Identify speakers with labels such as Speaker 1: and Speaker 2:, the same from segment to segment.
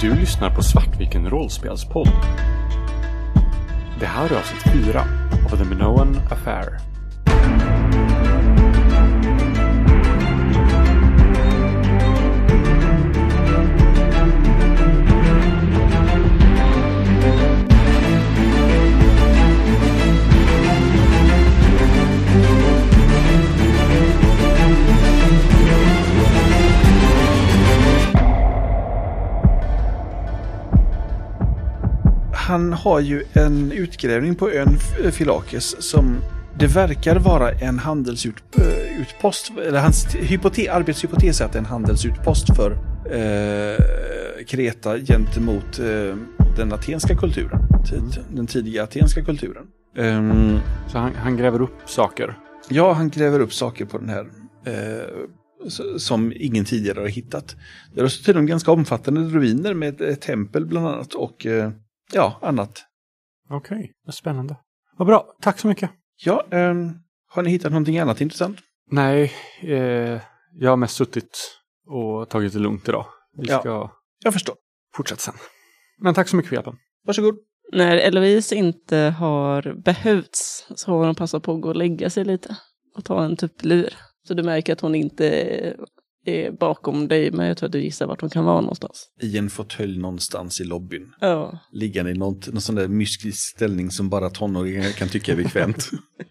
Speaker 1: Du lyssnar på Svartviken rollspelspodd. Det här är avsnitt 4 av The Minoan Affair.
Speaker 2: Han har ju en utgrävning på ön F- Filakes som det verkar vara en handelsutpost. Eller hans t- hypote, arbetshypotes är att det är en handelsutpost för eh, Kreta gentemot eh, den atenska kulturen. Tid, Den tidiga atenska kulturen. Ehm,
Speaker 1: Så han, han gräver upp saker.
Speaker 2: Ja, han gräver upp saker på den här eh, s- som ingen tidigare har hittat. Det är också tydligen ganska omfattande ruiner med ett, ett tempel bland annat och eh, ja, annat.
Speaker 1: Okej, vad spännande. Vad bra, tack så mycket.
Speaker 2: Ja, ehm, har ni hittat någonting annat intressant?
Speaker 1: Nej, eh, jag har mest suttit och tagit det lugnt idag. Vi
Speaker 2: Ja.
Speaker 1: ska
Speaker 2: Jag förstår.
Speaker 1: fortsätta sen. Men tack så mycket för hjälpen.
Speaker 2: Varsågod.
Speaker 3: När Eloise inte har behövts så har hon passat på att gå och lägga sig lite och ta en tupplur. Så du märker att hon inte är bakom dig, men jag tror att du gissar vart hon kan vara någonstans.
Speaker 2: I en fåtölj någonstans i lobbyn.
Speaker 3: Ja,
Speaker 2: Liggande i någon, någon sån där myskig ställning som bara tonåringar kan tycka är bekvämt.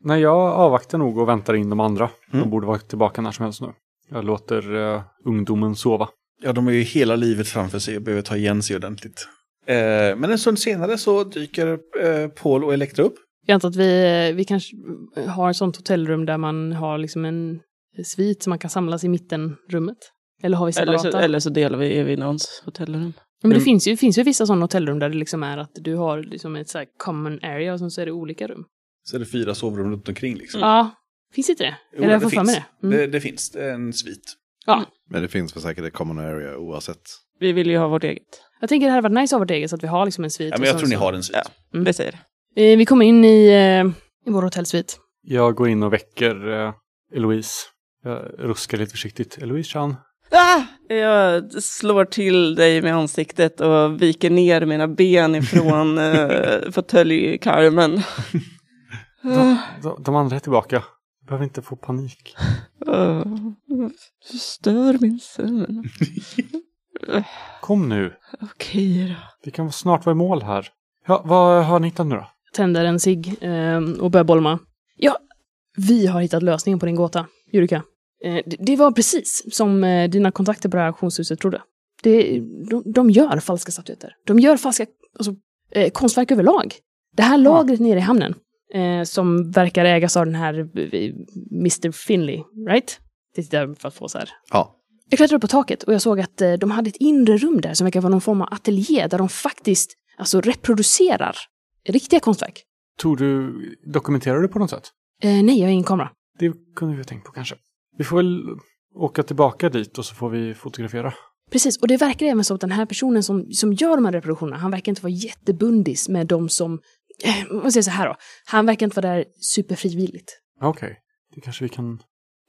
Speaker 1: Nej, jag avvaktar nog och väntar in de andra. De
Speaker 2: Mm.
Speaker 1: borde vara tillbaka när som helst nu. Jag låter eh, ungdomen sova.
Speaker 2: ja, de har ju hela livet framför sig och behöver ta igen sig ordentligt. Eh, men en stund senare så dyker eh, Paul och Elektra upp.
Speaker 4: Jag antar att vi, eh, vi kanske har ett sånt hotellrum där man har liksom en svit som man kan samlas i mittenrummet. Eller har vi
Speaker 3: eller
Speaker 4: separata?
Speaker 3: så, eller så delar vi Evi någons hotellrum.
Speaker 4: Ja, men det
Speaker 1: Mm.
Speaker 4: finns, ju, finns ju vissa sådana hotellrum där det liksom är att du har liksom ett så här common area och sen så är det olika rum.
Speaker 2: Så är det fyra sovrum runt omkring liksom.
Speaker 4: Ja, finns inte Mm. det?
Speaker 2: Jo,
Speaker 4: eller jag
Speaker 2: det
Speaker 4: får för mig
Speaker 2: finns.
Speaker 4: det. Mm.
Speaker 2: Det, det finns det är en svit.
Speaker 5: Mm. Men det finns väl säkert ett common area oavsett.
Speaker 3: Vi vill ju ha vårt eget.
Speaker 4: Jag tänker det hade varit nice att ha vårt eget så att vi har liksom en svit.
Speaker 2: Ja,
Speaker 4: och
Speaker 2: men jag
Speaker 4: sen
Speaker 2: tror ni
Speaker 4: så-
Speaker 2: har en svit.
Speaker 3: Ja.
Speaker 4: Mm.
Speaker 3: Det säger det.
Speaker 4: Eh, Vi kommer in i, eh, i vår hotellsvit.
Speaker 1: Jag går in och väcker eh, Eloise. Jag ruskar lite försiktigt. Eloise Chan.
Speaker 3: Ah! Jag slår till dig med ansiktet och viker ner mina ben ifrån eh, fåtöljkarmen.
Speaker 1: De, de, de andra är tillbaka. Du behöver inte få panik.
Speaker 3: Ah, Du stör min sömn.
Speaker 1: Kom nu.
Speaker 3: Okej då.
Speaker 1: Vi kan snart vara i mål här. Ja, vad har ni hittat nu då?
Speaker 4: Tänder en cigg eh, och börjar bolma. Ja, vi har hittat lösningen på din gåta, Jurika. Eh, det, det var precis som eh, dina kontakter på det här auktionshuset trodde. Det, de, de gör falska statyetter. De gör falska alltså, eh, konstverk överlag. Det här lagret nere i hamnen, eh, som verkar ägas av den här eh, Mr. Finley, right? Det tittar för att få så här
Speaker 5: Ja.
Speaker 4: jag klättrade upp på taket och jag såg att eh, de hade ett inre rum där som verkar vara någon form av ateljé där de faktiskt alltså, reproducerar riktiga konstverk.
Speaker 1: Tog du, dokumenterade du på något sätt?
Speaker 4: Eh, nej, jag har ingen kamera.
Speaker 1: Det kunde vi ha tänkt på kanske. Vi får väl åka tillbaka dit och så får vi fotografera.
Speaker 4: Precis, och det verkar även som att den här personen som, som gör de här reproduktionerna, han verkar inte vara jättebundis med de som... Eh, man säger så här då. Han verkar inte vara där superfrivilligt.
Speaker 1: Ja, Okej, det kanske vi kan,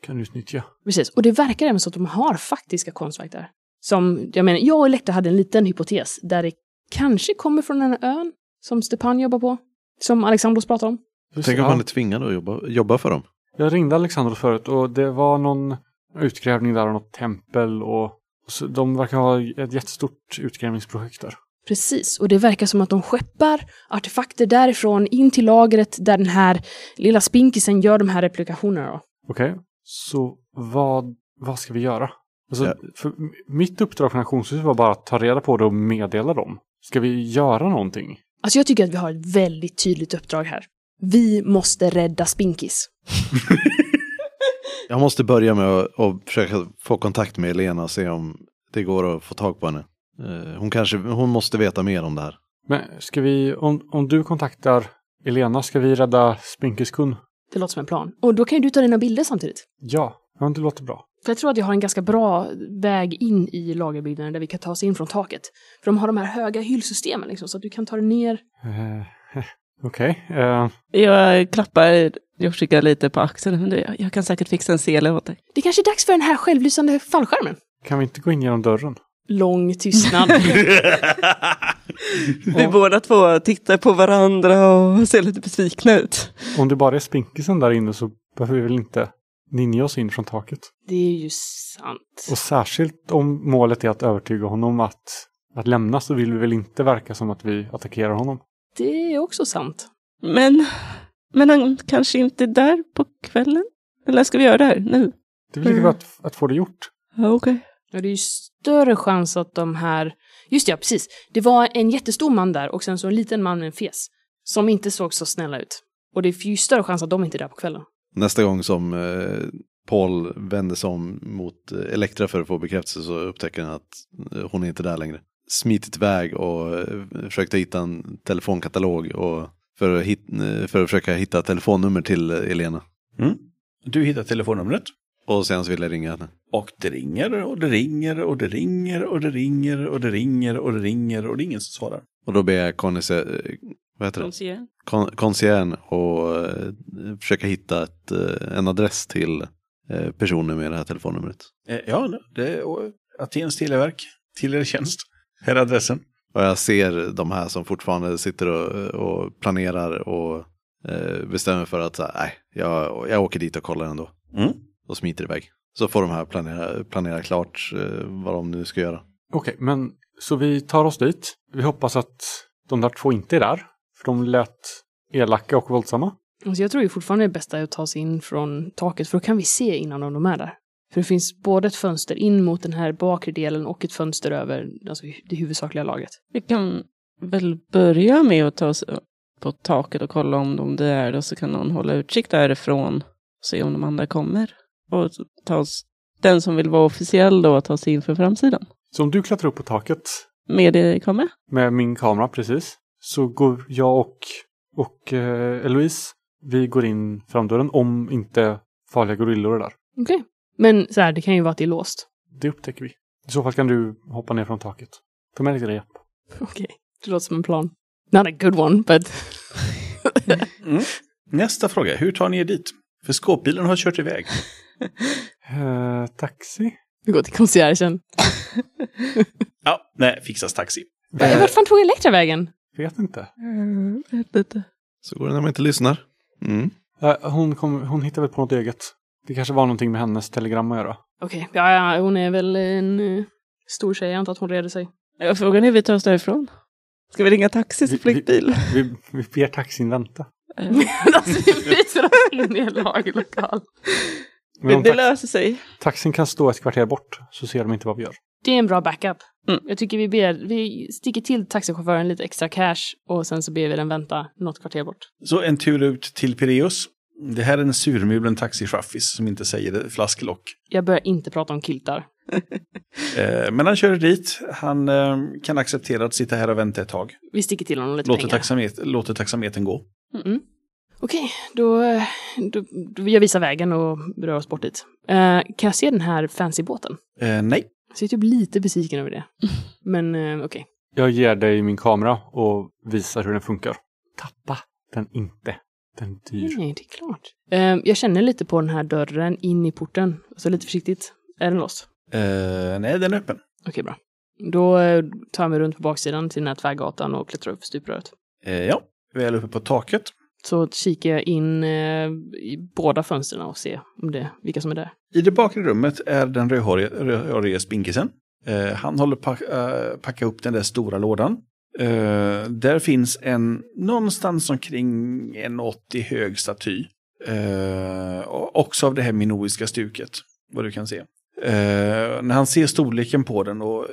Speaker 1: kan utnyttja.
Speaker 4: Precis, och det verkar även som att de har faktiska konstverk där. Som, jag menar, jag och Elektra hade en liten hypotes där det kanske kommer från den här ön som Stepan jobbar på. Som Alexandros pratar om.
Speaker 1: Just
Speaker 5: Tänk
Speaker 1: det,
Speaker 5: om
Speaker 1: ja.
Speaker 5: man är tvingad att jobba, jobba för dem.
Speaker 1: Jag ringde Alexander förut och det var någon utgrävning där av något tempel och och så de verkar ha ett jättestort utgrävningsprojekt där.
Speaker 4: Precis, och det verkar som att de skeppar artefakter därifrån in till lagret där den här lilla spinkisen gör de här replikationerna. Då.
Speaker 1: Okej, så vad, vad ska vi göra? Alltså,
Speaker 5: Ja.
Speaker 1: för m- mitt uppdrag från auktionshuset var bara att ta reda på det och meddela dem. Ska vi göra någonting?
Speaker 4: Alltså jag tycker att vi har ett väldigt tydligt uppdrag här. Vi måste rädda Spinkis.
Speaker 5: Jag måste börja med att, att försöka få kontakt med Elena och se om det går att få tag på henne. Eh, Hon, kanske, hon måste veta mer om det här.
Speaker 1: Men ska vi, om, om du kontaktar Elena, ska vi rädda Spinkiskun?
Speaker 4: Det låter som en plan. Och då kan ju du ta dina bilder samtidigt.
Speaker 1: Ja, ja, det låter bra.
Speaker 4: För jag tror att jag har en ganska bra väg in i lagerbyggnaden där vi kan ta oss in från taket. För de har de här höga hyllsystemen liksom, så att du kan ta dig ner.
Speaker 1: Eh, eh, Okej, eh,
Speaker 3: Jag klappar Yoshika lite på axeln. Men du, Jag kan säkert fixa en sele åt dig.
Speaker 4: Det kanske är dags för den här självlysande fallskärmen.
Speaker 1: kan vi inte gå in genom dörren?
Speaker 4: lång tystnad.
Speaker 3: Vi båda två tittar på varandra och ser lite besvikna ut.
Speaker 1: Om det bara är spinkisen där inne så behöver vi väl inte ninja oss in från taket.
Speaker 4: det är ju sant.
Speaker 1: Och särskilt om målet är att övertyga honom att, att lämna så vill vi väl inte verka som att vi attackerar honom.
Speaker 4: Det är också sant.
Speaker 3: Men, men han kanske inte är där på kvällen? Eller ska vi göra det här nu?
Speaker 1: Det är väl lika bra att, att få det gjort.
Speaker 3: Ja, okej.
Speaker 4: Ja, det är ju större chans att de här... Just det, ja, precis. Det var en jättestor man där och sen så en liten man med en fes. Som inte såg så snälla ut. Och det är ju större chans att de inte är där på kvällen.
Speaker 5: Nästa gång som eh, Paul vänder sig om mot eh, Elektra för att få bekräftelse så upptäcker han att eh, hon är inte där längre. Smitit iväg och eh, försökte hitta en telefonkatalog och för, att hit, eh, för att försöka hitta telefonnummer till eh, Elena.
Speaker 2: Mm. Du hittar telefonnumret.
Speaker 5: Och sen så vill jag ringa henne.
Speaker 2: Och det ringer och det ringer och det ringer och det ringer och det ringer och det ringer och det är ingen som svarar.
Speaker 5: Och då ber jag Connice, vad heter det? Kon- Concierge och eh, försöka hitta ett, eh, en adress till eh, personen med det här telefonnumret.
Speaker 2: Eh, Ja, det är och Atens televerk. Till er tjänst. Här är adressen.
Speaker 5: Och jag ser de här som fortfarande sitter och, och planerar och eh, bestämmer för att så här, nej, jag, jag åker dit och kollar ändå.
Speaker 2: Mm.
Speaker 5: Och smiter iväg. Så får de här planera, planera klart eh, vad de nu ska göra.
Speaker 1: Okej, men så vi tar oss dit. Vi hoppas att de där två inte är där. För de lät elaka och våldsamma.
Speaker 4: Alltså jag tror ju fortfarande det bästa är att ta sig in från taket, för då kan vi se innan om de är där. För det finns både ett fönster in mot den här bakre delen och ett fönster över alltså, hu- det huvudsakliga laget.
Speaker 3: Vi kan väl börja med att ta oss upp på taket och kolla om de är där och så kan någon hålla utkik därifrån. Se om de andra kommer. Och ta oss, den som vill vara officiell då, att ta sig in för framsidan.
Speaker 1: Så om du klättrar upp på taket
Speaker 3: Med det kommer.
Speaker 1: med min kamera precis så går jag och, och eh, Eloise, vi går in framdörren om inte farliga gorillor är där.
Speaker 4: Okej. Men så här, det kan ju vara att det är låst.
Speaker 1: Det upptäcker vi. I så fall kan du hoppa ner från taket. Ta med dig det.
Speaker 4: Okej. Det låter som en plan. Not a good one, but...
Speaker 2: Mm. Nästa fråga, hur tar ni er dit? För skåpbilen har kört iväg.
Speaker 1: Eh, taxi?
Speaker 4: vi går till conciergen.
Speaker 2: Ja, nej, fixas taxi.
Speaker 1: Eh.
Speaker 4: Äh. Vart fan tog Elektra vägen?
Speaker 1: Vet inte.
Speaker 3: Vet inte.
Speaker 5: Så går det när man inte lyssnar. Mm.
Speaker 1: Eh, hon, kom, hon hittade väl på något eget. Det kanske var någonting med hennes telegram att göra.
Speaker 4: Okej, ja, ja, hon är väl en eh, stor tjej. Jag antar att hon reder sig.
Speaker 3: Ja, Frågan är hur vi tar oss därifrån. Ska vi ringa taxi så
Speaker 1: Vi-
Speaker 3: får vi
Speaker 1: vi-
Speaker 3: bil?
Speaker 1: Vi, vi ber taxin vänta.
Speaker 4: alltså, vi bryter oss in i en lagerlokal.
Speaker 1: Men
Speaker 3: Det,
Speaker 1: om
Speaker 3: det
Speaker 1: tax,
Speaker 3: löser sig.
Speaker 1: taxin kan stå ett kvarter bort så ser de inte vad vi gör.
Speaker 4: Det är en bra backup.
Speaker 3: Mm.
Speaker 4: Jag tycker vi ber, vi sticker till taxichauffören lite extra cash och sen så ber vi den vänta något kvarter bort.
Speaker 2: Så en tur ut till Pireus. Det här är en surmulen taxichaffis som inte säger det, flasklock.
Speaker 4: Jag börjar inte prata om kiltar.
Speaker 2: Eh, men han kör dit. Han eh, kan acceptera att sitta här och vänta ett tag.
Speaker 4: Vi sticker till honom lite
Speaker 2: Låter,
Speaker 4: pengar.
Speaker 2: taxamet- låter taxameten gå.
Speaker 4: Mm. Okej, då, eh, då, då... Jag visar vägen och rör oss bort dit. Eh, kan jag se den här fancy båten?
Speaker 2: Eh, nej.
Speaker 4: Så jag är typ lite besviken över det. Men eh, okej.
Speaker 1: Jag ger dig min kamera och visar hur den funkar. Tappa den inte. Den är dyr.
Speaker 4: Nej, det är klart. Eh, jag känner lite på den här dörren in i porten. Så lite försiktigt. Är den låst?
Speaker 2: Eh, nej, den är öppen.
Speaker 4: Okej, bra. Då eh, tar jag mig runt på baksidan till den här tvärgatan och klättrar upp för stupröret.
Speaker 2: Eh, ja, väl uppe på taket.
Speaker 4: Så kikar jag in eh, i båda fönstren och ser om det, vilka som är där.
Speaker 2: I det bakre rummet är den rödhåriga, rödhåriga spinkisen. Eh, han håller på att eh, packa upp den där stora lådan. Eh, där finns en någonstans omkring en 80 hög staty. Eh, och- också av det här minoiska stuket, vad du kan se. Eh, när han ser storleken på den och,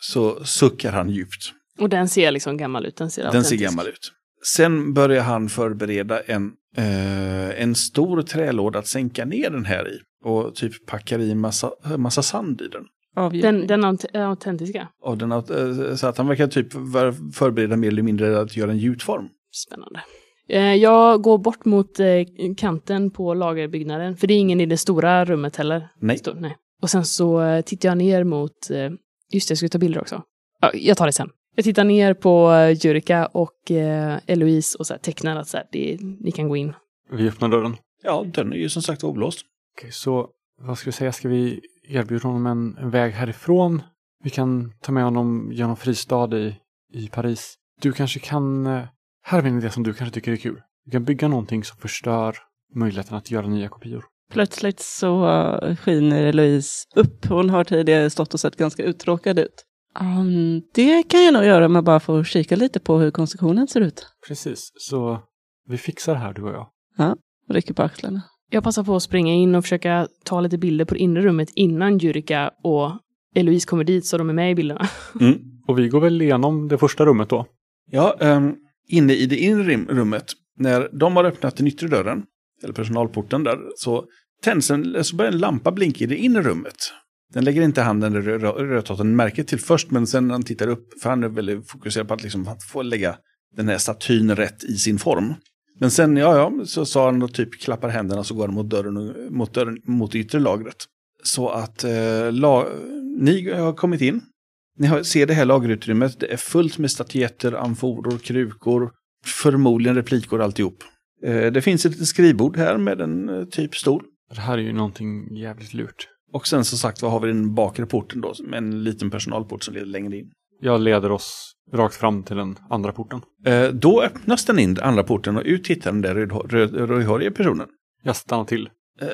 Speaker 2: så suckar han djupt.
Speaker 4: Och den ser liksom gammal ut. Den ser,
Speaker 2: Den ser
Speaker 4: autentisk.
Speaker 2: gammal ut. Sen börjar han förbereda en, eh, en stor trälåda att sänka ner den här i. Och typ packar i massa, massa sand i den.
Speaker 4: Den, den aut- är autentiska.
Speaker 2: Och den att, eh, så att han verkar typ ver- förbereda mer eller mindre att göra en gjutform.
Speaker 4: Spännande. Eh, Jag går bort mot eh, kanten på lagerbyggnaden, för det är ingen i det stora rummet heller.
Speaker 2: Nej.
Speaker 4: Stor, nej. Och sen så eh, tittar jag ner mot... eh, Just det, jag skulle ta bilder också. Ja, jag tar det sen. Jag tittar ner på eh, Jurika och eh, Eloise och så här tecknar att så här, det, ni kan gå in.
Speaker 1: Vi öppnar dörren.
Speaker 2: Ja, den är ju som sagt oblåst.
Speaker 1: Okej, så vad ska vi säga? Ska vi erbjuda honom en, en väg härifrån? Vi kan ta med honom genom fristad i, i Paris. Du kanske kan... eh, Här är en idé som du kanske tycker är kul. Du kan bygga någonting som förstör möjligheten att göra nya kopior.
Speaker 3: Plötsligt så eh, skiner Eloise upp. Hon har tidigare stått och sett ganska uttråkad ut. Ehm, det kan jag nog göra om jag bara får kika lite på hur konstruktionen ser ut.
Speaker 1: Precis, så vi fixar det här du och jag.
Speaker 3: Och rycker på axlarna.
Speaker 4: Jag passar på att springa in och försöka ta lite bilder på det inre rummet innan Jurika och Eloise kommer dit så de är med i bilderna.
Speaker 2: Mm.
Speaker 1: Och vi går väl igenom det första rummet då.
Speaker 2: Ja, ehm, inne i det inre rim- rummet, när de har öppnat den yttre dörren, eller personalporten där, så, tänds en, så börjar en lampa blinka i det inre rummet. Den lägger inte handen i rö- rö- rödtotten märke till först, men sen när han tittar upp, för han är väldigt fokuserad på att liksom, han får lägga den här statyn rätt i sin form. Men sen, ja, ja, så sa han och typ klappar händerna så går han mot dörren, och- mot dörren, mot det yttre lagret. Så att eh, la, ni har kommit in, ni har- ser det här lagerutrymmet. Det är fullt med statyetter, amforor, krukor, förmodligen replikor alltihop. Eh, Det finns ett litet skrivbord här med en eh, typ stol.
Speaker 1: Det här är ju någonting jävligt lurt.
Speaker 2: Och sen som sagt vad har vi den bakre porten då, med en liten personalport som leder längre in.
Speaker 1: Jag leder oss rakt fram till den andra porten.
Speaker 2: Eh, Då öppnas den in, den andra porten, och ut hittar den där rödhå- röd- rödhåriga personen.
Speaker 1: Jag stannar till.
Speaker 2: Eh,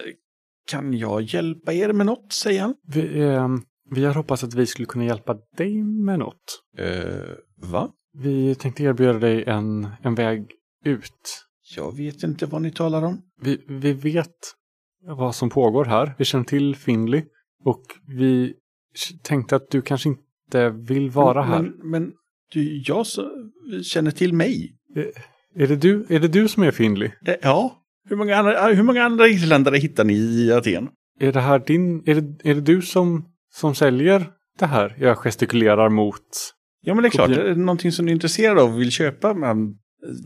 Speaker 2: Kan jag hjälpa er med något, säger han.
Speaker 1: Vi, ehm, vi har hoppats att vi skulle kunna hjälpa dig med något.
Speaker 2: Eh, va?
Speaker 1: Vi tänkte erbjuda dig en, en väg ut.
Speaker 2: Jag vet inte vad ni talar om.
Speaker 1: Vi, vi vet vad som pågår här. Vi känner till Finley och vi tänkte att du kanske inte vill vara här.
Speaker 2: Men, men du, jag så, känner till mig.
Speaker 1: Är, det du, är det du som är Finley?
Speaker 2: Eh, Ja. Hur många, andra, ah, hur många andra irländare hittar ni i Aten?
Speaker 1: Är det här din... Är det, är det du som, som säljer det här? Jag gestikulerar mot...
Speaker 2: Ja, men det är klart.
Speaker 1: Kopior.
Speaker 2: Är det någonting som du är intresserad av och vill köpa? Man eh,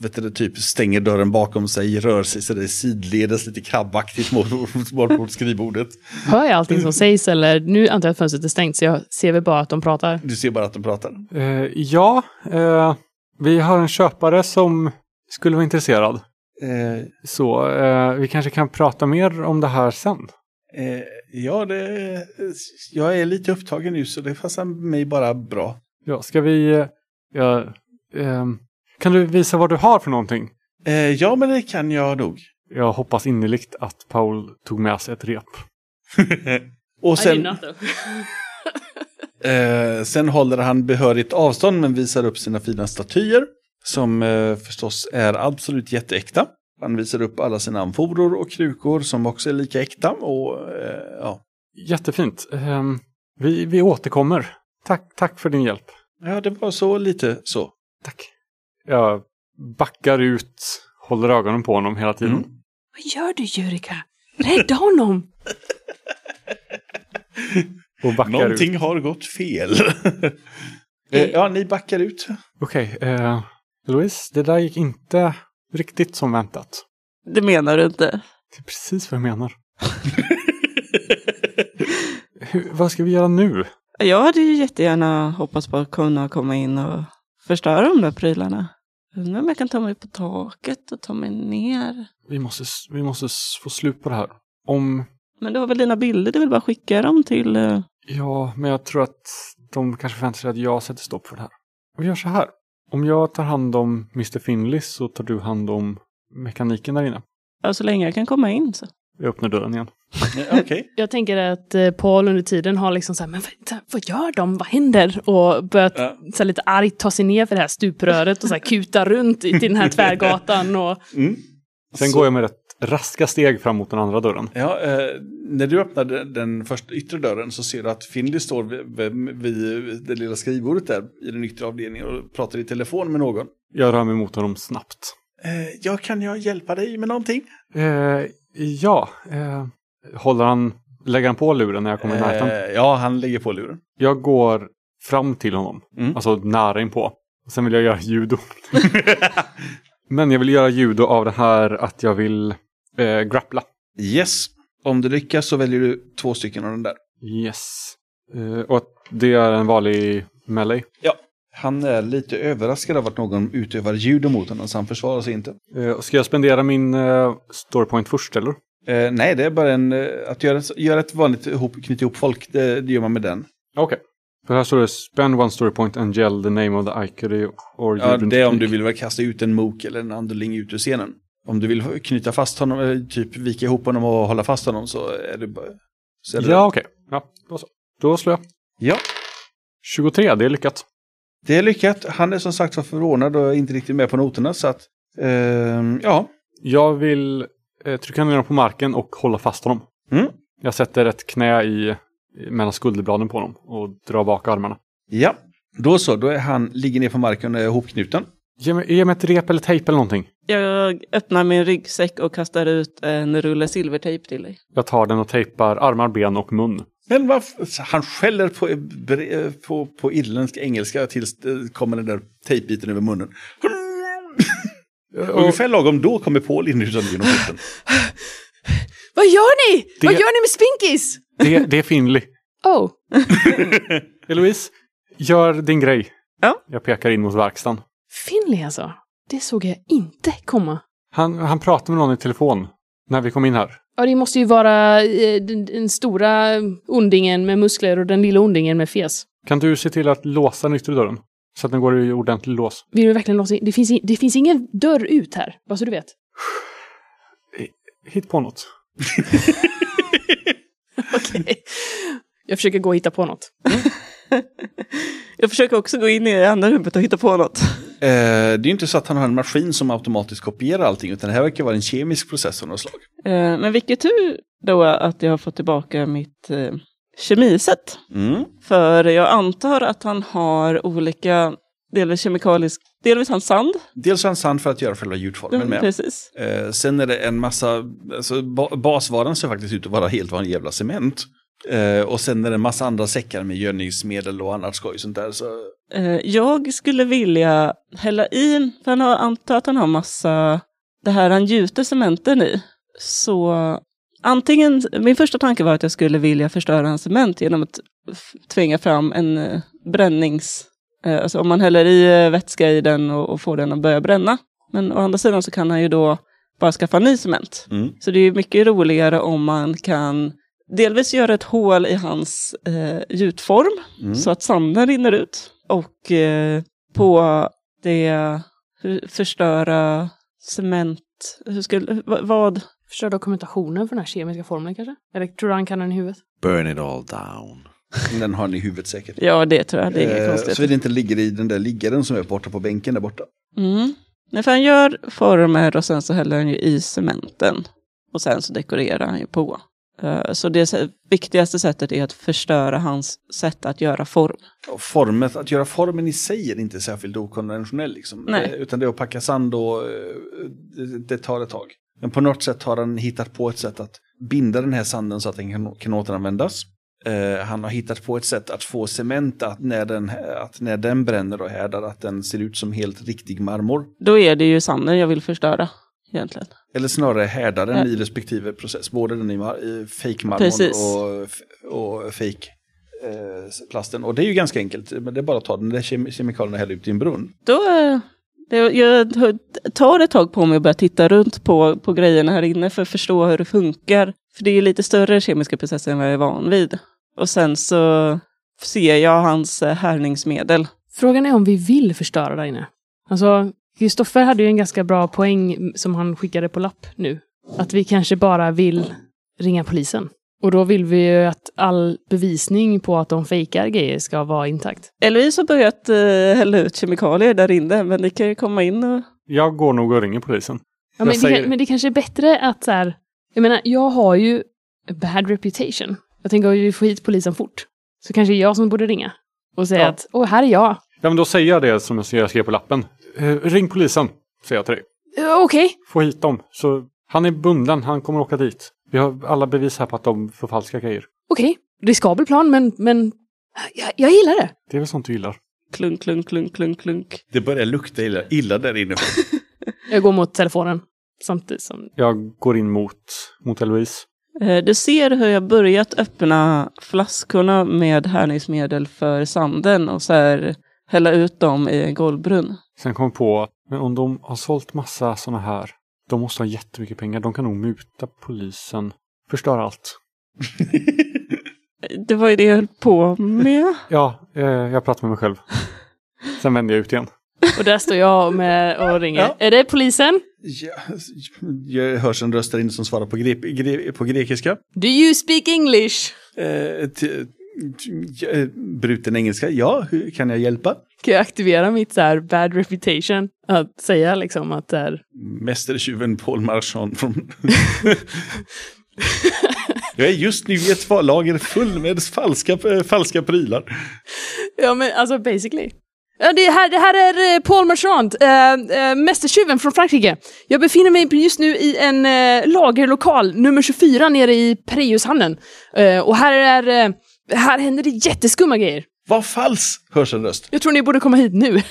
Speaker 2: vet du, typ stänger dörren bakom sig, rör sig så det är sidledes lite krabbaktigt mot, mot, mot, mot skrivbordet.
Speaker 4: Hör jag allting som sägs eller? Nu antar jag att fönstret är stängt så jag ser väl bara att de pratar.
Speaker 2: Du ser bara att de pratar.
Speaker 1: Eh, ja, eh, vi har en köpare som skulle vara intresserad.
Speaker 2: Eh,
Speaker 1: Så eh, vi kanske kan prata mer om det här sen.
Speaker 2: eh, ja, det, eh, jag är lite upptagen nu så det passar mig bara bra.
Speaker 1: Ja, ska vi... eh, Ja, ehm, kan du visa vad du har för någonting?
Speaker 2: Eh, ja, men det kan jag nog.
Speaker 1: Jag hoppas innerligt att Paul tog med sig ett rep.
Speaker 2: Och sen, Eh, sen håller han behörigt avstånd men visar upp sina fina statyer. Som eh, förstås är absolut jätteäkta. Han visar upp alla sina amforor och krukor som också är lika äkta. Och, eh, ja.
Speaker 1: Jättefint. Ehm, vi, vi återkommer. Tack, tack för din hjälp.
Speaker 2: ja, det var så lite så.
Speaker 1: Tack. Jag backar ut, håller ögonen på honom hela tiden.
Speaker 2: Mm.
Speaker 4: Vad gör du Jurika? Rädda honom!
Speaker 1: Och backar ut.
Speaker 2: Någonting har gått fel. eh, ja, ni backar ut.
Speaker 1: Okej, eh, Louise, det där gick inte riktigt som väntat.
Speaker 3: Det menar du inte?
Speaker 1: Det är precis vad jag menar. Hur, vad ska vi göra nu?
Speaker 3: Jag hade ju jättegärna hoppats på att kunna komma in och förstöra de där prylarna. Undrar om jag kan ta mig upp på taket och ta mig ner.
Speaker 1: Vi måste, s- vi måste s- få slut på det här. Om,
Speaker 3: Men du har väl dina bilder, du vill bara skicka dem till... eh,
Speaker 1: ja, men jag tror att de kanske förväntar sig att jag sätter stopp för det här. Vi gör så här. Om jag tar hand om Mr. Finley så tar du hand om mekaniken där inne.
Speaker 3: Ja, så länge jag kan komma in så.
Speaker 1: Jag öppnar dörren igen.
Speaker 2: Eh, Okej.
Speaker 4: Jag tänker att eh, Paul under tiden har liksom så här, men vad, vad gör de? Vad händer? Och börjat
Speaker 2: Ja.
Speaker 4: så här, lite argt ta sig ner för det här stupröret och så här, kuta runt i till den här tvärgatan. Och,
Speaker 2: Mm.
Speaker 1: Sen
Speaker 2: Så-
Speaker 1: går jag med rätt raska steg fram mot den andra dörren.
Speaker 2: Ja, eh, när du öppnar den, den första yttre dörren så ser du att Finley står vid, vid, vid det lilla skrivbordet där i den yttre avdelningen och pratar i telefon med någon.
Speaker 1: Jag rör mig mot honom snabbt.
Speaker 2: Eh, ja, kan jag hjälpa dig med någonting?
Speaker 1: Eh, ja, eh, håller han, lägger han på luren när jag kommer i närheten?
Speaker 2: Eh, ja, han lägger på luren.
Speaker 1: Jag går fram till honom,
Speaker 2: Mm.
Speaker 1: alltså nära inpå. Sen vill jag göra judo. Men jag vill göra judo av det här att jag vill eh, grappla.
Speaker 2: Yes. Om du lyckas så väljer du två stycken av den där.
Speaker 1: Yes. Eh, och att det är en vanlig melee.
Speaker 2: Han är lite överraskad av att någon utövar judo mot honom, så han försvarar sig inte.
Speaker 1: Eh, och ska jag spendera min eh, story point först eller?
Speaker 2: Eh, nej, det är bara en... eh, Att göra, göra ett vanligt ihop, knyta ihop folk, det, det gör man med den.
Speaker 1: Okej. För här står det spend one story point and yell the name of the icon or
Speaker 2: Ja,
Speaker 1: given
Speaker 2: det är om du
Speaker 1: technique."
Speaker 2: vill väl kasta ut en mok eller en andeling ut ur scenen. Om du vill knyta fast honom, eller typ vika ihop honom och hålla fast honom så är det bara... Så är det
Speaker 1: Ja, okej. Ja, då så. Då slår jag.
Speaker 2: ja,
Speaker 1: 23, det är lyckat.
Speaker 2: det är lyckat. Han är som sagt var förvånad och inte riktigt med på noterna så att... ehm, ja,
Speaker 1: Jag vill eh, trycka ner honom på marken och hålla fast honom.
Speaker 2: Mm.
Speaker 1: Jag sätter ett knä i, i- mellan skulderbladen på honom och drar bak armarna.
Speaker 2: ja. Då så, då är han, ligger ner på marken och är hopknuten.
Speaker 1: Ge mig, ge mig ett rep eller tejp eller någonting.
Speaker 3: Jag öppnar min ryggsäck och kastar ut en rulle silvertejp till dig.
Speaker 1: Jag tar den och tejpar armar, ben och mun.
Speaker 2: Men varför? Han skäller på, bre- på, på irländsk engelska tills det kommer den där tejpbiten över munnen. Ungefär lagom då kommer Paul in utan genom porten.
Speaker 4: Vad gör ni?
Speaker 1: Det-
Speaker 4: Vad gör ni med Spinkis?
Speaker 1: Det, det är Finley.
Speaker 4: Oh,
Speaker 1: Eloise, gör din grej.
Speaker 3: Ja.
Speaker 1: Jag pekar in mot verkstaden.
Speaker 4: Finley alltså. Det såg jag inte komma.
Speaker 1: Han, han pratade med någon i telefon när vi kom in här.
Speaker 4: Ja, det måste ju vara eh, den, den stora ondingen med muskler och den lilla ondingen med fes.
Speaker 1: Kan du se till att låsa den yttre dörren? Så att den går i ordentlig lås.
Speaker 4: Vill du verkligen låsa in? Det finns, i- det finns ingen dörr ut här, bara så du vet.
Speaker 1: Hitt på något.
Speaker 4: Okej. Jag försöker gå och hitta på något.
Speaker 3: Jag försöker också gå in i det andra rummet och hitta på något.
Speaker 2: Eh, det är ju inte så att han har en maskin som automatiskt kopierar allting, utan det här verkar vara en kemisk process av något slag.
Speaker 3: Eh, Men vilket tur då att jag har fått tillbaka mitt eh, kemiset.
Speaker 2: Mm.
Speaker 3: För jag antar att han har olika, delvis kemikalisk, delvis hans sand.
Speaker 2: Dels har han sand för att göra själva
Speaker 3: Mm,
Speaker 2: gjutformen med.
Speaker 3: Precis.
Speaker 2: Eh, sen är det en massa, alltså, ba- basvaran ser faktiskt ut att vara helt vanlig jävla cement. Eh, och sen är det en massa andra säckar med gödningsmedel och annat skoj sånt där. Så
Speaker 3: Eh, Jag skulle vilja hälla i, för han har, antar att han har massa, det här han gjuter cementen i. Så antingen, min första tanke var att jag skulle vilja förstöra hans cement genom att f- tvinga fram en eh, brännings, eh, alltså om man häller i eh, vätska i den och, och får den att börja bränna. Men å andra sidan så kan han ju då bara skaffa ny cement.
Speaker 2: Mm.
Speaker 3: Så det är ju mycket roligare om man kan delvis göra ett hål i hans eh, gjutform
Speaker 2: Mm.
Speaker 3: så att sanden rinner ut. Och eh, på det hur- förstöra cement, hur skulle, va- vad?
Speaker 4: Förstör dokumentationen för den här kemiska formeln kanske? Eller tror du han kan den i huvudet?
Speaker 5: Burn it all down.
Speaker 2: den har ni i huvudet säkert.
Speaker 3: Ja, det tror jag, det är inget
Speaker 2: Eh,
Speaker 3: konstigt.
Speaker 2: så det inte ligger i den där liggaren som är borta på bänken där borta.
Speaker 3: Mm. Nej, för han gör former och sen så häller han ju i cementen. Och sen så dekorerar han ju på. Eh, Så det sä- viktigaste sättet är att förstöra hans sätt att göra form.
Speaker 2: Och formet, att göra formen i sig är inte särskilt okonventionell. Liksom.
Speaker 3: Nej.
Speaker 2: Eh, Utan det är att packa sand och eh, det, det tar ett tag. Men på något sätt har han hittat på ett sätt att binda den här sanden så att den kan, kan återanvändas. Eh, han har hittat på ett sätt att få cement att när den, att när den bränner och härdar att den ser ut som helt riktig marmor.
Speaker 3: Då är det ju sanden jag vill förstöra egentligen.
Speaker 2: Eller snarare härdaren
Speaker 3: Ja.
Speaker 2: i respektive process. Både den i, mar- i
Speaker 3: Precis.
Speaker 2: fake-marmorn och, f- och fake-plasten. Och det är ju ganska enkelt. Men det är bara att ta den där kem- kemikalien och hälla ut i en brunn.
Speaker 3: Då, eh, det, jag tar ett tag på mig att börja titta runt på, på grejerna här inne för att förstå hur det funkar. För det är ju lite större kemiska processer än vad jag är van vid. Och sen så ser jag hans eh, härningsmedel.
Speaker 4: Frågan är om vi vill förstöra där inne. Alltså, Kristoffer hade ju en ganska bra poäng som han skickade på lapp nu. Att vi kanske bara vill ringa polisen. Och då vill vi ju att all bevisning på att de fejkar grejer ska vara intakt.
Speaker 3: Eloise har börjat eh, hälla ut kemikalier där inne, men ni kan ju komma in och...
Speaker 1: Jag går nog och ringer polisen.
Speaker 4: Ja,
Speaker 1: Jag
Speaker 4: men,
Speaker 1: säger
Speaker 4: det,
Speaker 1: det.
Speaker 4: kan- men det kanske är bättre att så här, jag menar, jag har ju a bad reputation. Jag tänker om vi får hit polisen fort, så kanske det är jag som borde ringa och säga
Speaker 1: Ja.
Speaker 4: att åh, här är jag.
Speaker 1: Ja, men då säger jag det som jag skrev på lappen. Eh, ring polisen, säger jag till dig.
Speaker 4: "Eh, Okej,
Speaker 1: Få hit dem. Så han är bunden, han kommer åka dit. Vi har alla bevis här på att de förfalskar grejer.
Speaker 4: okej. Riskabel plan, men, men jag, jag gillar det.
Speaker 1: Det är väl sånt du gillar?
Speaker 3: Klunk, klunk, klunk, klunk, klunk.
Speaker 2: Det börjar lukta illa, illa där inne.
Speaker 4: Jag går mot telefonen samtidigt som...
Speaker 1: Jag går in mot, mot Eloise.
Speaker 3: Eh, Du ser hur jag börjat öppna flaskorna med härningsmedel för sanden och så här hälla ut dem i en golvbrunn.
Speaker 1: Sen kom jag på, men om de har sålt massa såna här, de måste ha jättemycket pengar. De kan nog muta polisen, förstöra allt.
Speaker 3: det var ju det jag höll på med.
Speaker 1: Ja, eh, jag pratar med mig själv. Sen vänder jag ut igen.
Speaker 4: Och där står jag med och ringer.
Speaker 2: Ja.
Speaker 4: Är det polisen?
Speaker 2: Ja, jag hörs en röst där inne som svarar på, grep, gre, på grekiska.
Speaker 4: Do you speak English?
Speaker 2: Eh, t, t, eh, bruten engelska. Ja, hur kan jag hjälpa?
Speaker 4: Kan jag aktivera mitt så här bad reputation? Att säga liksom att det är...
Speaker 2: Mästertjuven Paul Marchand från... jag är just nu i ett lager full med falska, eh, falska prylar.
Speaker 4: Ja men alltså basically. Ja, det, här, det här är eh, Paul Marchand, äh, mästertjuven från Frankrike. Jag befinner mig just nu i en eh, lagerlokal, nummer 24, nere i Preushallen. Eh, och här är... eh, här händer det jätteskumma grejer.
Speaker 2: Vad fals, hörs en röst.
Speaker 4: Jag tror ni borde komma hit nu.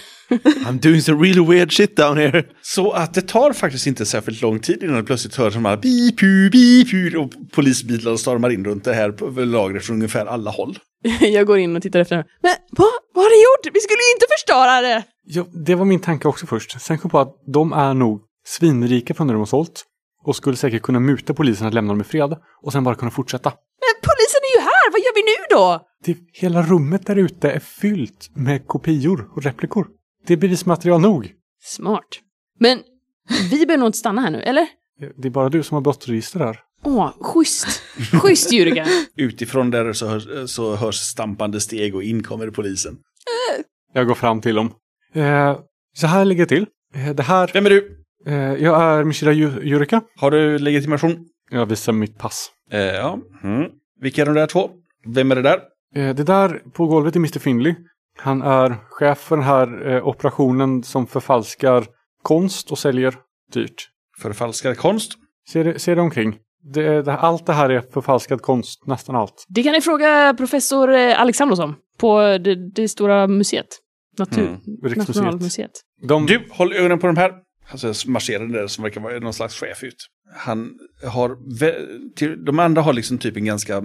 Speaker 5: I'm doing some really weird shit down here.
Speaker 2: Så att det tar faktiskt inte särskilt lång tid innan det plötsligt hörs de här bipu, bipu och polisbilar stormar in runt det här på- lagret från ungefär alla håll.
Speaker 4: Jag går in och tittar efter henne. Men vad, vad har du gjort? Vi skulle ju inte förstöra det!
Speaker 1: Ja, det var min tanke också först. Sen kom jag på att de är nog svinrika från det de har sålt och skulle säkert kunna muta polisen att lämna dem i fred och sen bara kunna fortsätta.
Speaker 4: Men polisen är ju här, vad gör vi nu då?
Speaker 1: Det, hela rummet där ute är fyllt med kopior och replikor. Det är bevismaterial nog.
Speaker 4: Smart. Men vi behöver nog inte stanna här nu, eller?
Speaker 1: Det är bara du som har brottsregister här.
Speaker 4: Åh, schysst. Schysst, Jurgen.
Speaker 2: Utifrån där så hörs, så hörs stampande steg och in kommer polisen.
Speaker 1: Jag går fram till dem. Eh, så här ligger det till. Eh, det här...
Speaker 2: Vem är du?
Speaker 1: Eh, jag är Mishira Ju- Jurika.
Speaker 2: Har du legitimation?
Speaker 1: Jag visar mitt pass.
Speaker 2: Eh, ja. Mm. Vilka är de där två? Vem är det där?
Speaker 1: Eh, det där på golvet är Mr Finley. Han är chef för den här eh, operationen som förfalskar konst och säljer dyrt.
Speaker 2: Förfalskar konst?
Speaker 1: Se dig se dig omkring. Det, det, allt det här är förfalskad konst, nästan allt.
Speaker 4: Det kan ni fråga professor eh, Alexandros om. På det, det stora museet. Natur...
Speaker 2: Mm.
Speaker 1: Riksmuseet.
Speaker 4: Nationalmuseet.
Speaker 1: De,
Speaker 2: Du, håll ögonen på de här. Alltså marscherar där som verkar vara någon slags chef ut. Han har, vä- till, de andra har liksom typ en ganska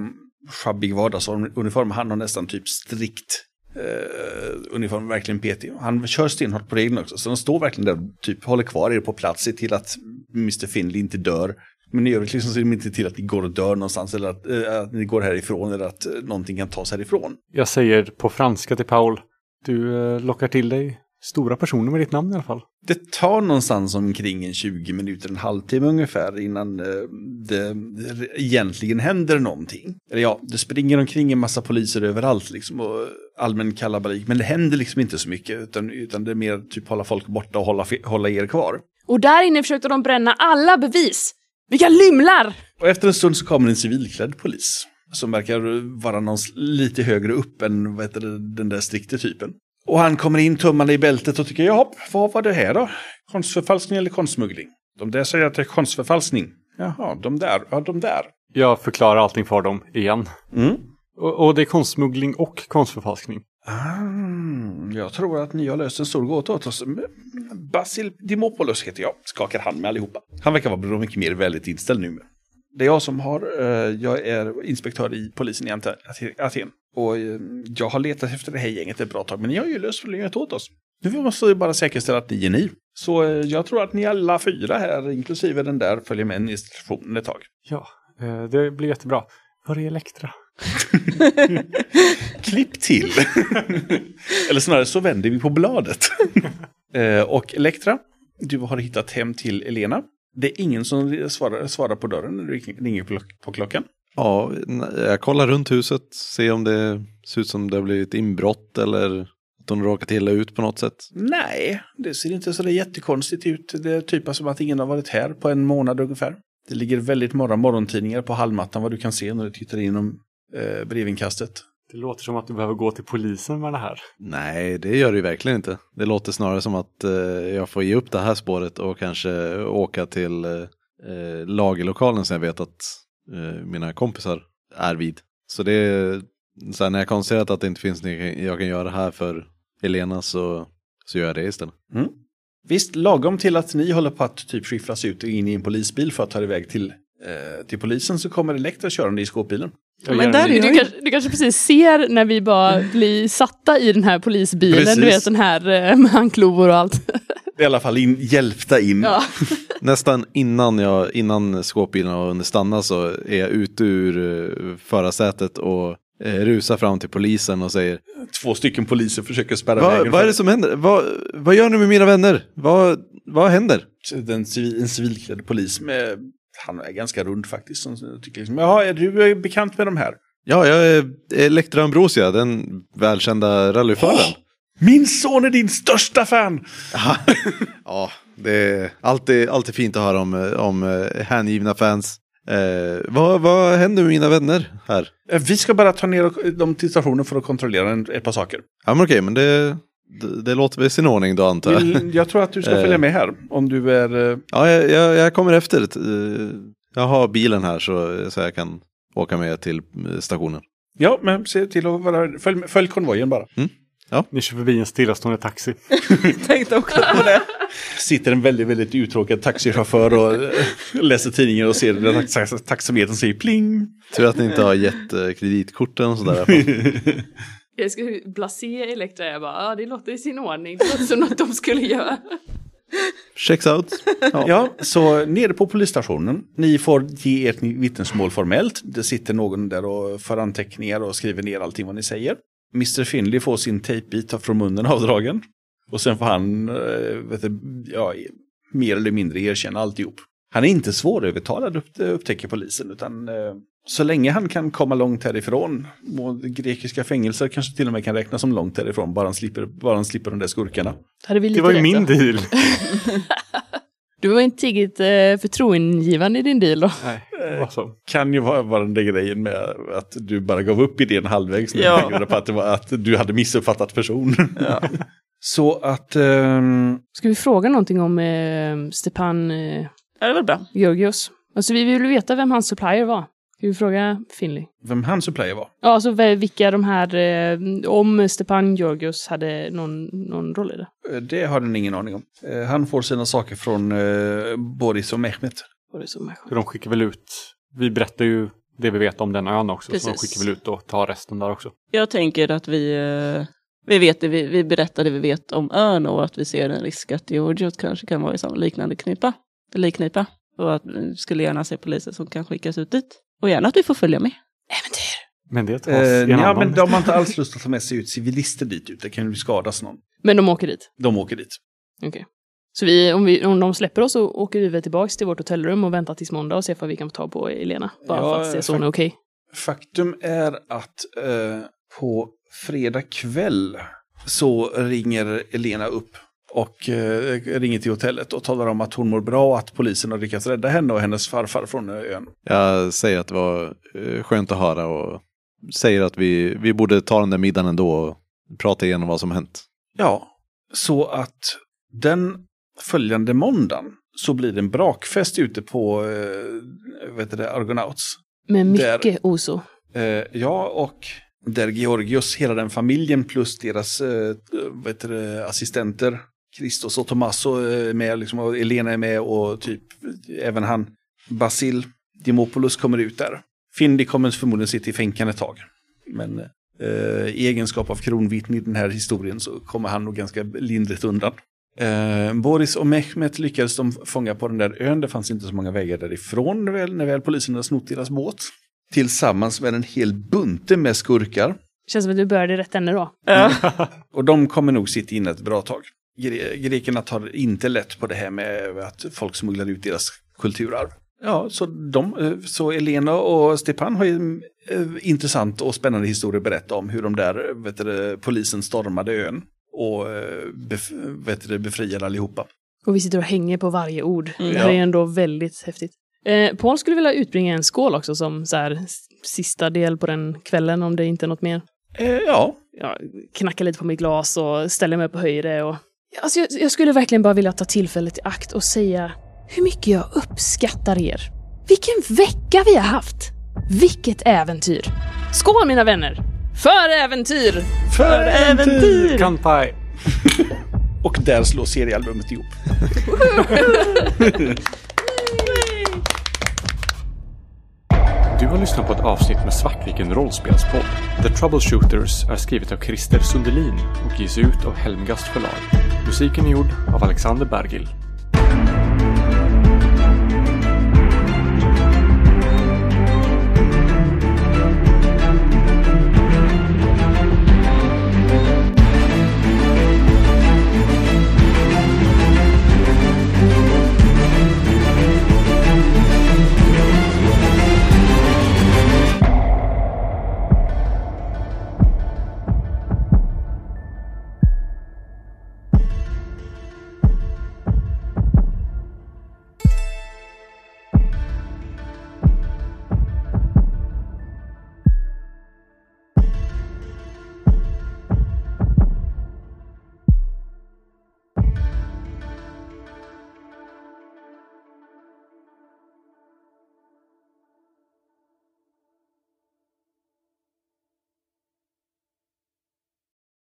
Speaker 2: sjabbig vardagsuniform. Han har nästan typ strikt eh, uniform, verkligen petig. Han kör stenhårt på reglerna också. Så de står verkligen där och typ håller kvar er på plats, ser till att Mr. Finley inte dör. Men i övrigt liksom ser de inte till att ni går och dör någonstans eller att, eh, att ni går härifrån eller att eh, någonting kan tas härifrån.
Speaker 1: jag säger på franska till Paul. Du eh, lockar till dig stora personer med ditt namn i alla fall.
Speaker 2: Det tar någonstans omkring en 20 minuter, en halvtimme ungefär innan eh, det egentligen händer någonting. Eller ja, det springer omkring en massa poliser överallt liksom och allmän kalabalik. Men det händer liksom inte så mycket utan, utan det är mer typ hålla folk borta och hålla, fe- hålla er kvar.
Speaker 4: Och där inne försökte de bränna alla bevis. Vilka lymlar!
Speaker 2: Och efter en stund så kommer en civilklädd polis. Som verkar vara någon s- lite högre upp än vad heter det, den där strikte typen. Och han kommer in tummande i bältet och tycker, jaha, vad var det här då? Konstförfalskning eller konstsmuggling? De där säger att det är konstförfalskning. Jaha, de där, ja de där.
Speaker 1: Jag förklarar allting för dem igen.
Speaker 2: Mm.
Speaker 1: Och, och det är konstsmuggling och konstförfalskning.
Speaker 2: Ah, jag tror att ni har löst en stor gåta åt oss. Basil Dimopoulos heter jag. Skakar hand med allihopa. Han verkar vara bra mycket mer väldigt inställd nu. Det är jag som har, eh, jag är inspektör i polisen i Ante- Ate- Aten. Och eh, jag har letat efter det här gänget ett bra tag, men ni har ju löst problemet åt oss. Nu måste vi bara säkerställa att ni är ni. Så eh, jag tror att ni alla fyra här, inklusive den där, följer med en instruktion ett tag.
Speaker 1: Ja, eh, det blir jättebra. Var är Elektra?
Speaker 2: Klipp till. Eller snarare så vänder vi på bladet. Eh, och Elektra, du har hittat hem till Elena. Det är ingen som svarar, svarar på dörren när du ringer på, på klockan.
Speaker 5: Ja, n- jag kollar runt huset, ser om det ser ut som det har blivit inbrott eller att de råkat illa ut på något sätt.
Speaker 2: Nej, det ser inte så där jättekonstigt ut. Det är typ som att ingen har varit här på en månad ungefär. Det ligger väldigt många morgontidningar på hallmattan vad du kan se när du tittar inom eh, brevinkastet.
Speaker 1: Det låter som att du behöver gå till polisen med det här.
Speaker 5: Nej, det gör det ju verkligen inte. Det låter snarare som att eh, jag får ge upp det här spåret och kanske åka till eh, eh, lagerlokalen som jag vet att eh, mina kompisar är vid. Så det är, så här, när jag konstaterat att det inte finns något jag kan göra här för Elena så, så gör jag det istället.
Speaker 2: Mm. Visst, lagom till att ni håller på att typ skifflas ut och in i en polisbil för att ta er iväg till, eh, till polisen så kommer Elektra körande i skåpbilen.
Speaker 1: Jag
Speaker 3: Men
Speaker 1: ger
Speaker 3: där
Speaker 1: en
Speaker 3: är
Speaker 1: liten-
Speaker 3: ju-
Speaker 4: Du kanske, du kanske precis ser när vi bara blir satta i den här polisbilen,
Speaker 2: Precis.
Speaker 4: du vet den här eh, med handklovor och allt.
Speaker 2: I alla fall in, hjälpta in.
Speaker 4: Ja.
Speaker 5: Nästan innan, jag, innan skåpbilen har hunnit stanna så är jag ute ur eh, förarsätet och eh, rusar fram till polisen och säger
Speaker 2: Två stycken poliser försöker spärra
Speaker 5: "Va-
Speaker 2: vägen.
Speaker 5: Vad är
Speaker 2: för
Speaker 5: det som händer? Va, vad gör ni med mina vänner? Vad, vad händer?
Speaker 2: Den civil, en civilklädd polis med, han är ganska rund faktiskt, som tycker liksom, jaha, är du bekant med de här?
Speaker 5: Ja, jag är Elektra Ambrosia, den välkända rallyföraren.
Speaker 2: Åh, Min son är din största fan!
Speaker 5: Ja. ja, det är alltid, alltid fint att höra om, eh, om eh, hängivna fans. Eh, vad, vad händer med mina vänner här?
Speaker 2: Eh, Vi ska bara ta ner dem till stationen för att kontrollera en, ett par saker.
Speaker 5: Ja, men okej, men det, det, det låter väl i sin ordning då antar jag.
Speaker 2: Vill, jag tror att du ska
Speaker 5: Eh.
Speaker 2: följa med här, om du är... eh,
Speaker 5: Ja, jag, jag, jag kommer efter. eh, Jag har bilen här så, så jag kan åka med till eh, stationen.
Speaker 2: Ja, men se till att vara... Följ, följ konvojen bara.
Speaker 1: Ni kör förbi en stillastående taxi.
Speaker 3: Tänkte också på det.
Speaker 2: Sitter en väldigt, väldigt uttråkad taxichaufför och eh, läser tidningen och ser den där tax- taxametern säger pling.
Speaker 5: Tur att ni inte har gett eh, kreditkorten och sådär.
Speaker 4: Jag skulle blasé Elektra, jag bara, ja det låter i sin ordning. Det låter som något de skulle göra.
Speaker 5: Checks out.
Speaker 2: Ja, så nere på polisstationen. Ni får ge ert vittnesmål formellt. Det sitter någon där och för anteckningar och skriver ner allting vad ni säger. Mr Finley får sin tejpbit från munnen avdragen. Och sen får han, eh, vet du, ja, mer eller mindre erkänna alltihop. Han är inte svårövertalad upp- upptäcker polisen, utan eh, så länge han kan komma långt härifrån, och grekiska fängelser kanske till och med kan räknas som långt härifrån, bara han slipper, bara han slipper de där skurkarna.
Speaker 4: Hade vi lite
Speaker 1: Det var ju
Speaker 4: rätt,
Speaker 1: min
Speaker 4: då.
Speaker 1: deal.
Speaker 4: Du var inte tillräckligt eh, förtroendegivande i din deal då.
Speaker 1: Nej, vad så.
Speaker 2: kan ju vara vara den där grejen med att du bara gav upp idén halvvägs när
Speaker 3: Ja.
Speaker 2: du tänkte på att, det var att du hade missuppfattat person. Så att... ehm,
Speaker 4: Ska vi fråga någonting om eh, Stepan eh,
Speaker 3: Ja, det var bra.
Speaker 4: Georgios? Alltså vi vill veta vem hans supplier var. Ska vi fråga Finley?
Speaker 2: vem han supplier var?
Speaker 4: Ja, alltså v- vilka de här, eh, om Stepan Georgios hade någon, någon roll i det.
Speaker 2: Eh, Det har den ingen aning om. Eh, Han får sina saker från eh, Boris och Mehmet.
Speaker 4: Var det så människa?
Speaker 1: För de skickar väl ut, vi berättar ju det vi vet om den ön också. Så de
Speaker 3: Precis.
Speaker 1: skickar väl ut och tar resten där också.
Speaker 3: Jag tänker att vi, eh, vi, vet det, vi, vi berättar det vi vet om ön och att vi ser en risk att Georgios kanske kan vara i samma liknande knipa. Liknipa. Och att vi skulle gärna se poliser som kan skickas ut dit. Och gärna att vi får följa med.
Speaker 1: Men det tas
Speaker 2: Eh,
Speaker 1: i en
Speaker 2: ja,
Speaker 1: annan.
Speaker 2: men de har inte alls lust att ta med sig ut civilister dit ut. Det kan ju skadas någon.
Speaker 4: Men de åker dit.
Speaker 2: De åker dit.
Speaker 4: Okej. Så vi, om, vi, om de släpper oss så åker vi väl tillbaka till vårt hotellrum och väntar tills måndag och ser vad vi kan få tag på Elena. Bara
Speaker 2: Ja,
Speaker 4: för att se så hon är
Speaker 2: fakt-
Speaker 4: okej.
Speaker 2: Faktum är att eh, på fredag kväll så ringer Elena upp och eh, ringer till hotellet och talar om att hon mår bra och att polisen har lyckats rädda henne och hennes farfar från ön.
Speaker 5: Jag säger att det var eh, skönt att höra och säger att vi, vi borde ta den där middagen ändå och prata igenom vad som hänt.
Speaker 2: Ja, så att den följande måndagen så blir det en brakfest ute på eh, vet du det, Argonauts.
Speaker 4: Med
Speaker 2: där-
Speaker 4: mycket oso.
Speaker 2: Eh, ja, och där Georgios, hela den familjen plus deras eh, vad heter det, assistenter, Christos och Tommaso är med, liksom, och Elena är med och typ även han, Basil Dimopoulos kommer ut där. Findi kommer förmodligen sitta i fänkan ett tag. Men eh, i egenskap av kronvittne i den här historien så kommer han nog ganska lindrigt undan. Eh, Boris och Mehmet lyckades de fånga på den där ön. Det fanns inte så många vägar därifrån när väl, när väl polisen hade snott deras båt tillsammans med en hel bunte med skurkar.
Speaker 4: Känns som att du började i rätt ände då.
Speaker 2: Och de kommer nog sitta inne ett bra tag. Gre- grekerna tar inte lätt på det här med att folk smugglar ut deras kulturarv. Ja, så, de, eh, så Elena och Stepan har ju en eh, intressant och spännande historia att berätta om hur de där eh, vet du, det, polisen stormade ön och eh, bef- vet du, det, befriade allihopa.
Speaker 4: Och vi sitter och hänger på varje ord.
Speaker 3: Mm.
Speaker 4: Det här
Speaker 2: Ja.
Speaker 4: är ändå väldigt häftigt. Eh, Paul skulle vilja utbringa en skål också som så här, s- sista del på den kvällen om det inte är något mer.
Speaker 2: Eh, ja,
Speaker 4: jag knackar lite på mitt glas och ställer mig upp på höjre och... Alltså, jag, jag skulle verkligen bara vilja ta tillfället i akt och säga hur mycket jag uppskattar er. Vilken vecka vi har haft! Vilket äventyr! Skål mina vänner! För äventyr!
Speaker 2: för äventyr!
Speaker 1: Kanpai!
Speaker 2: Och där slås seriealbumet ihop.
Speaker 1: Du har lyssnat på ett avsnitt med Svartviken rollspelspodd. The Troubleshooters är skrivet av Christer Sundelin och ges ut av Helmgast förlag. Musiken är gjord av Alexander Bergil.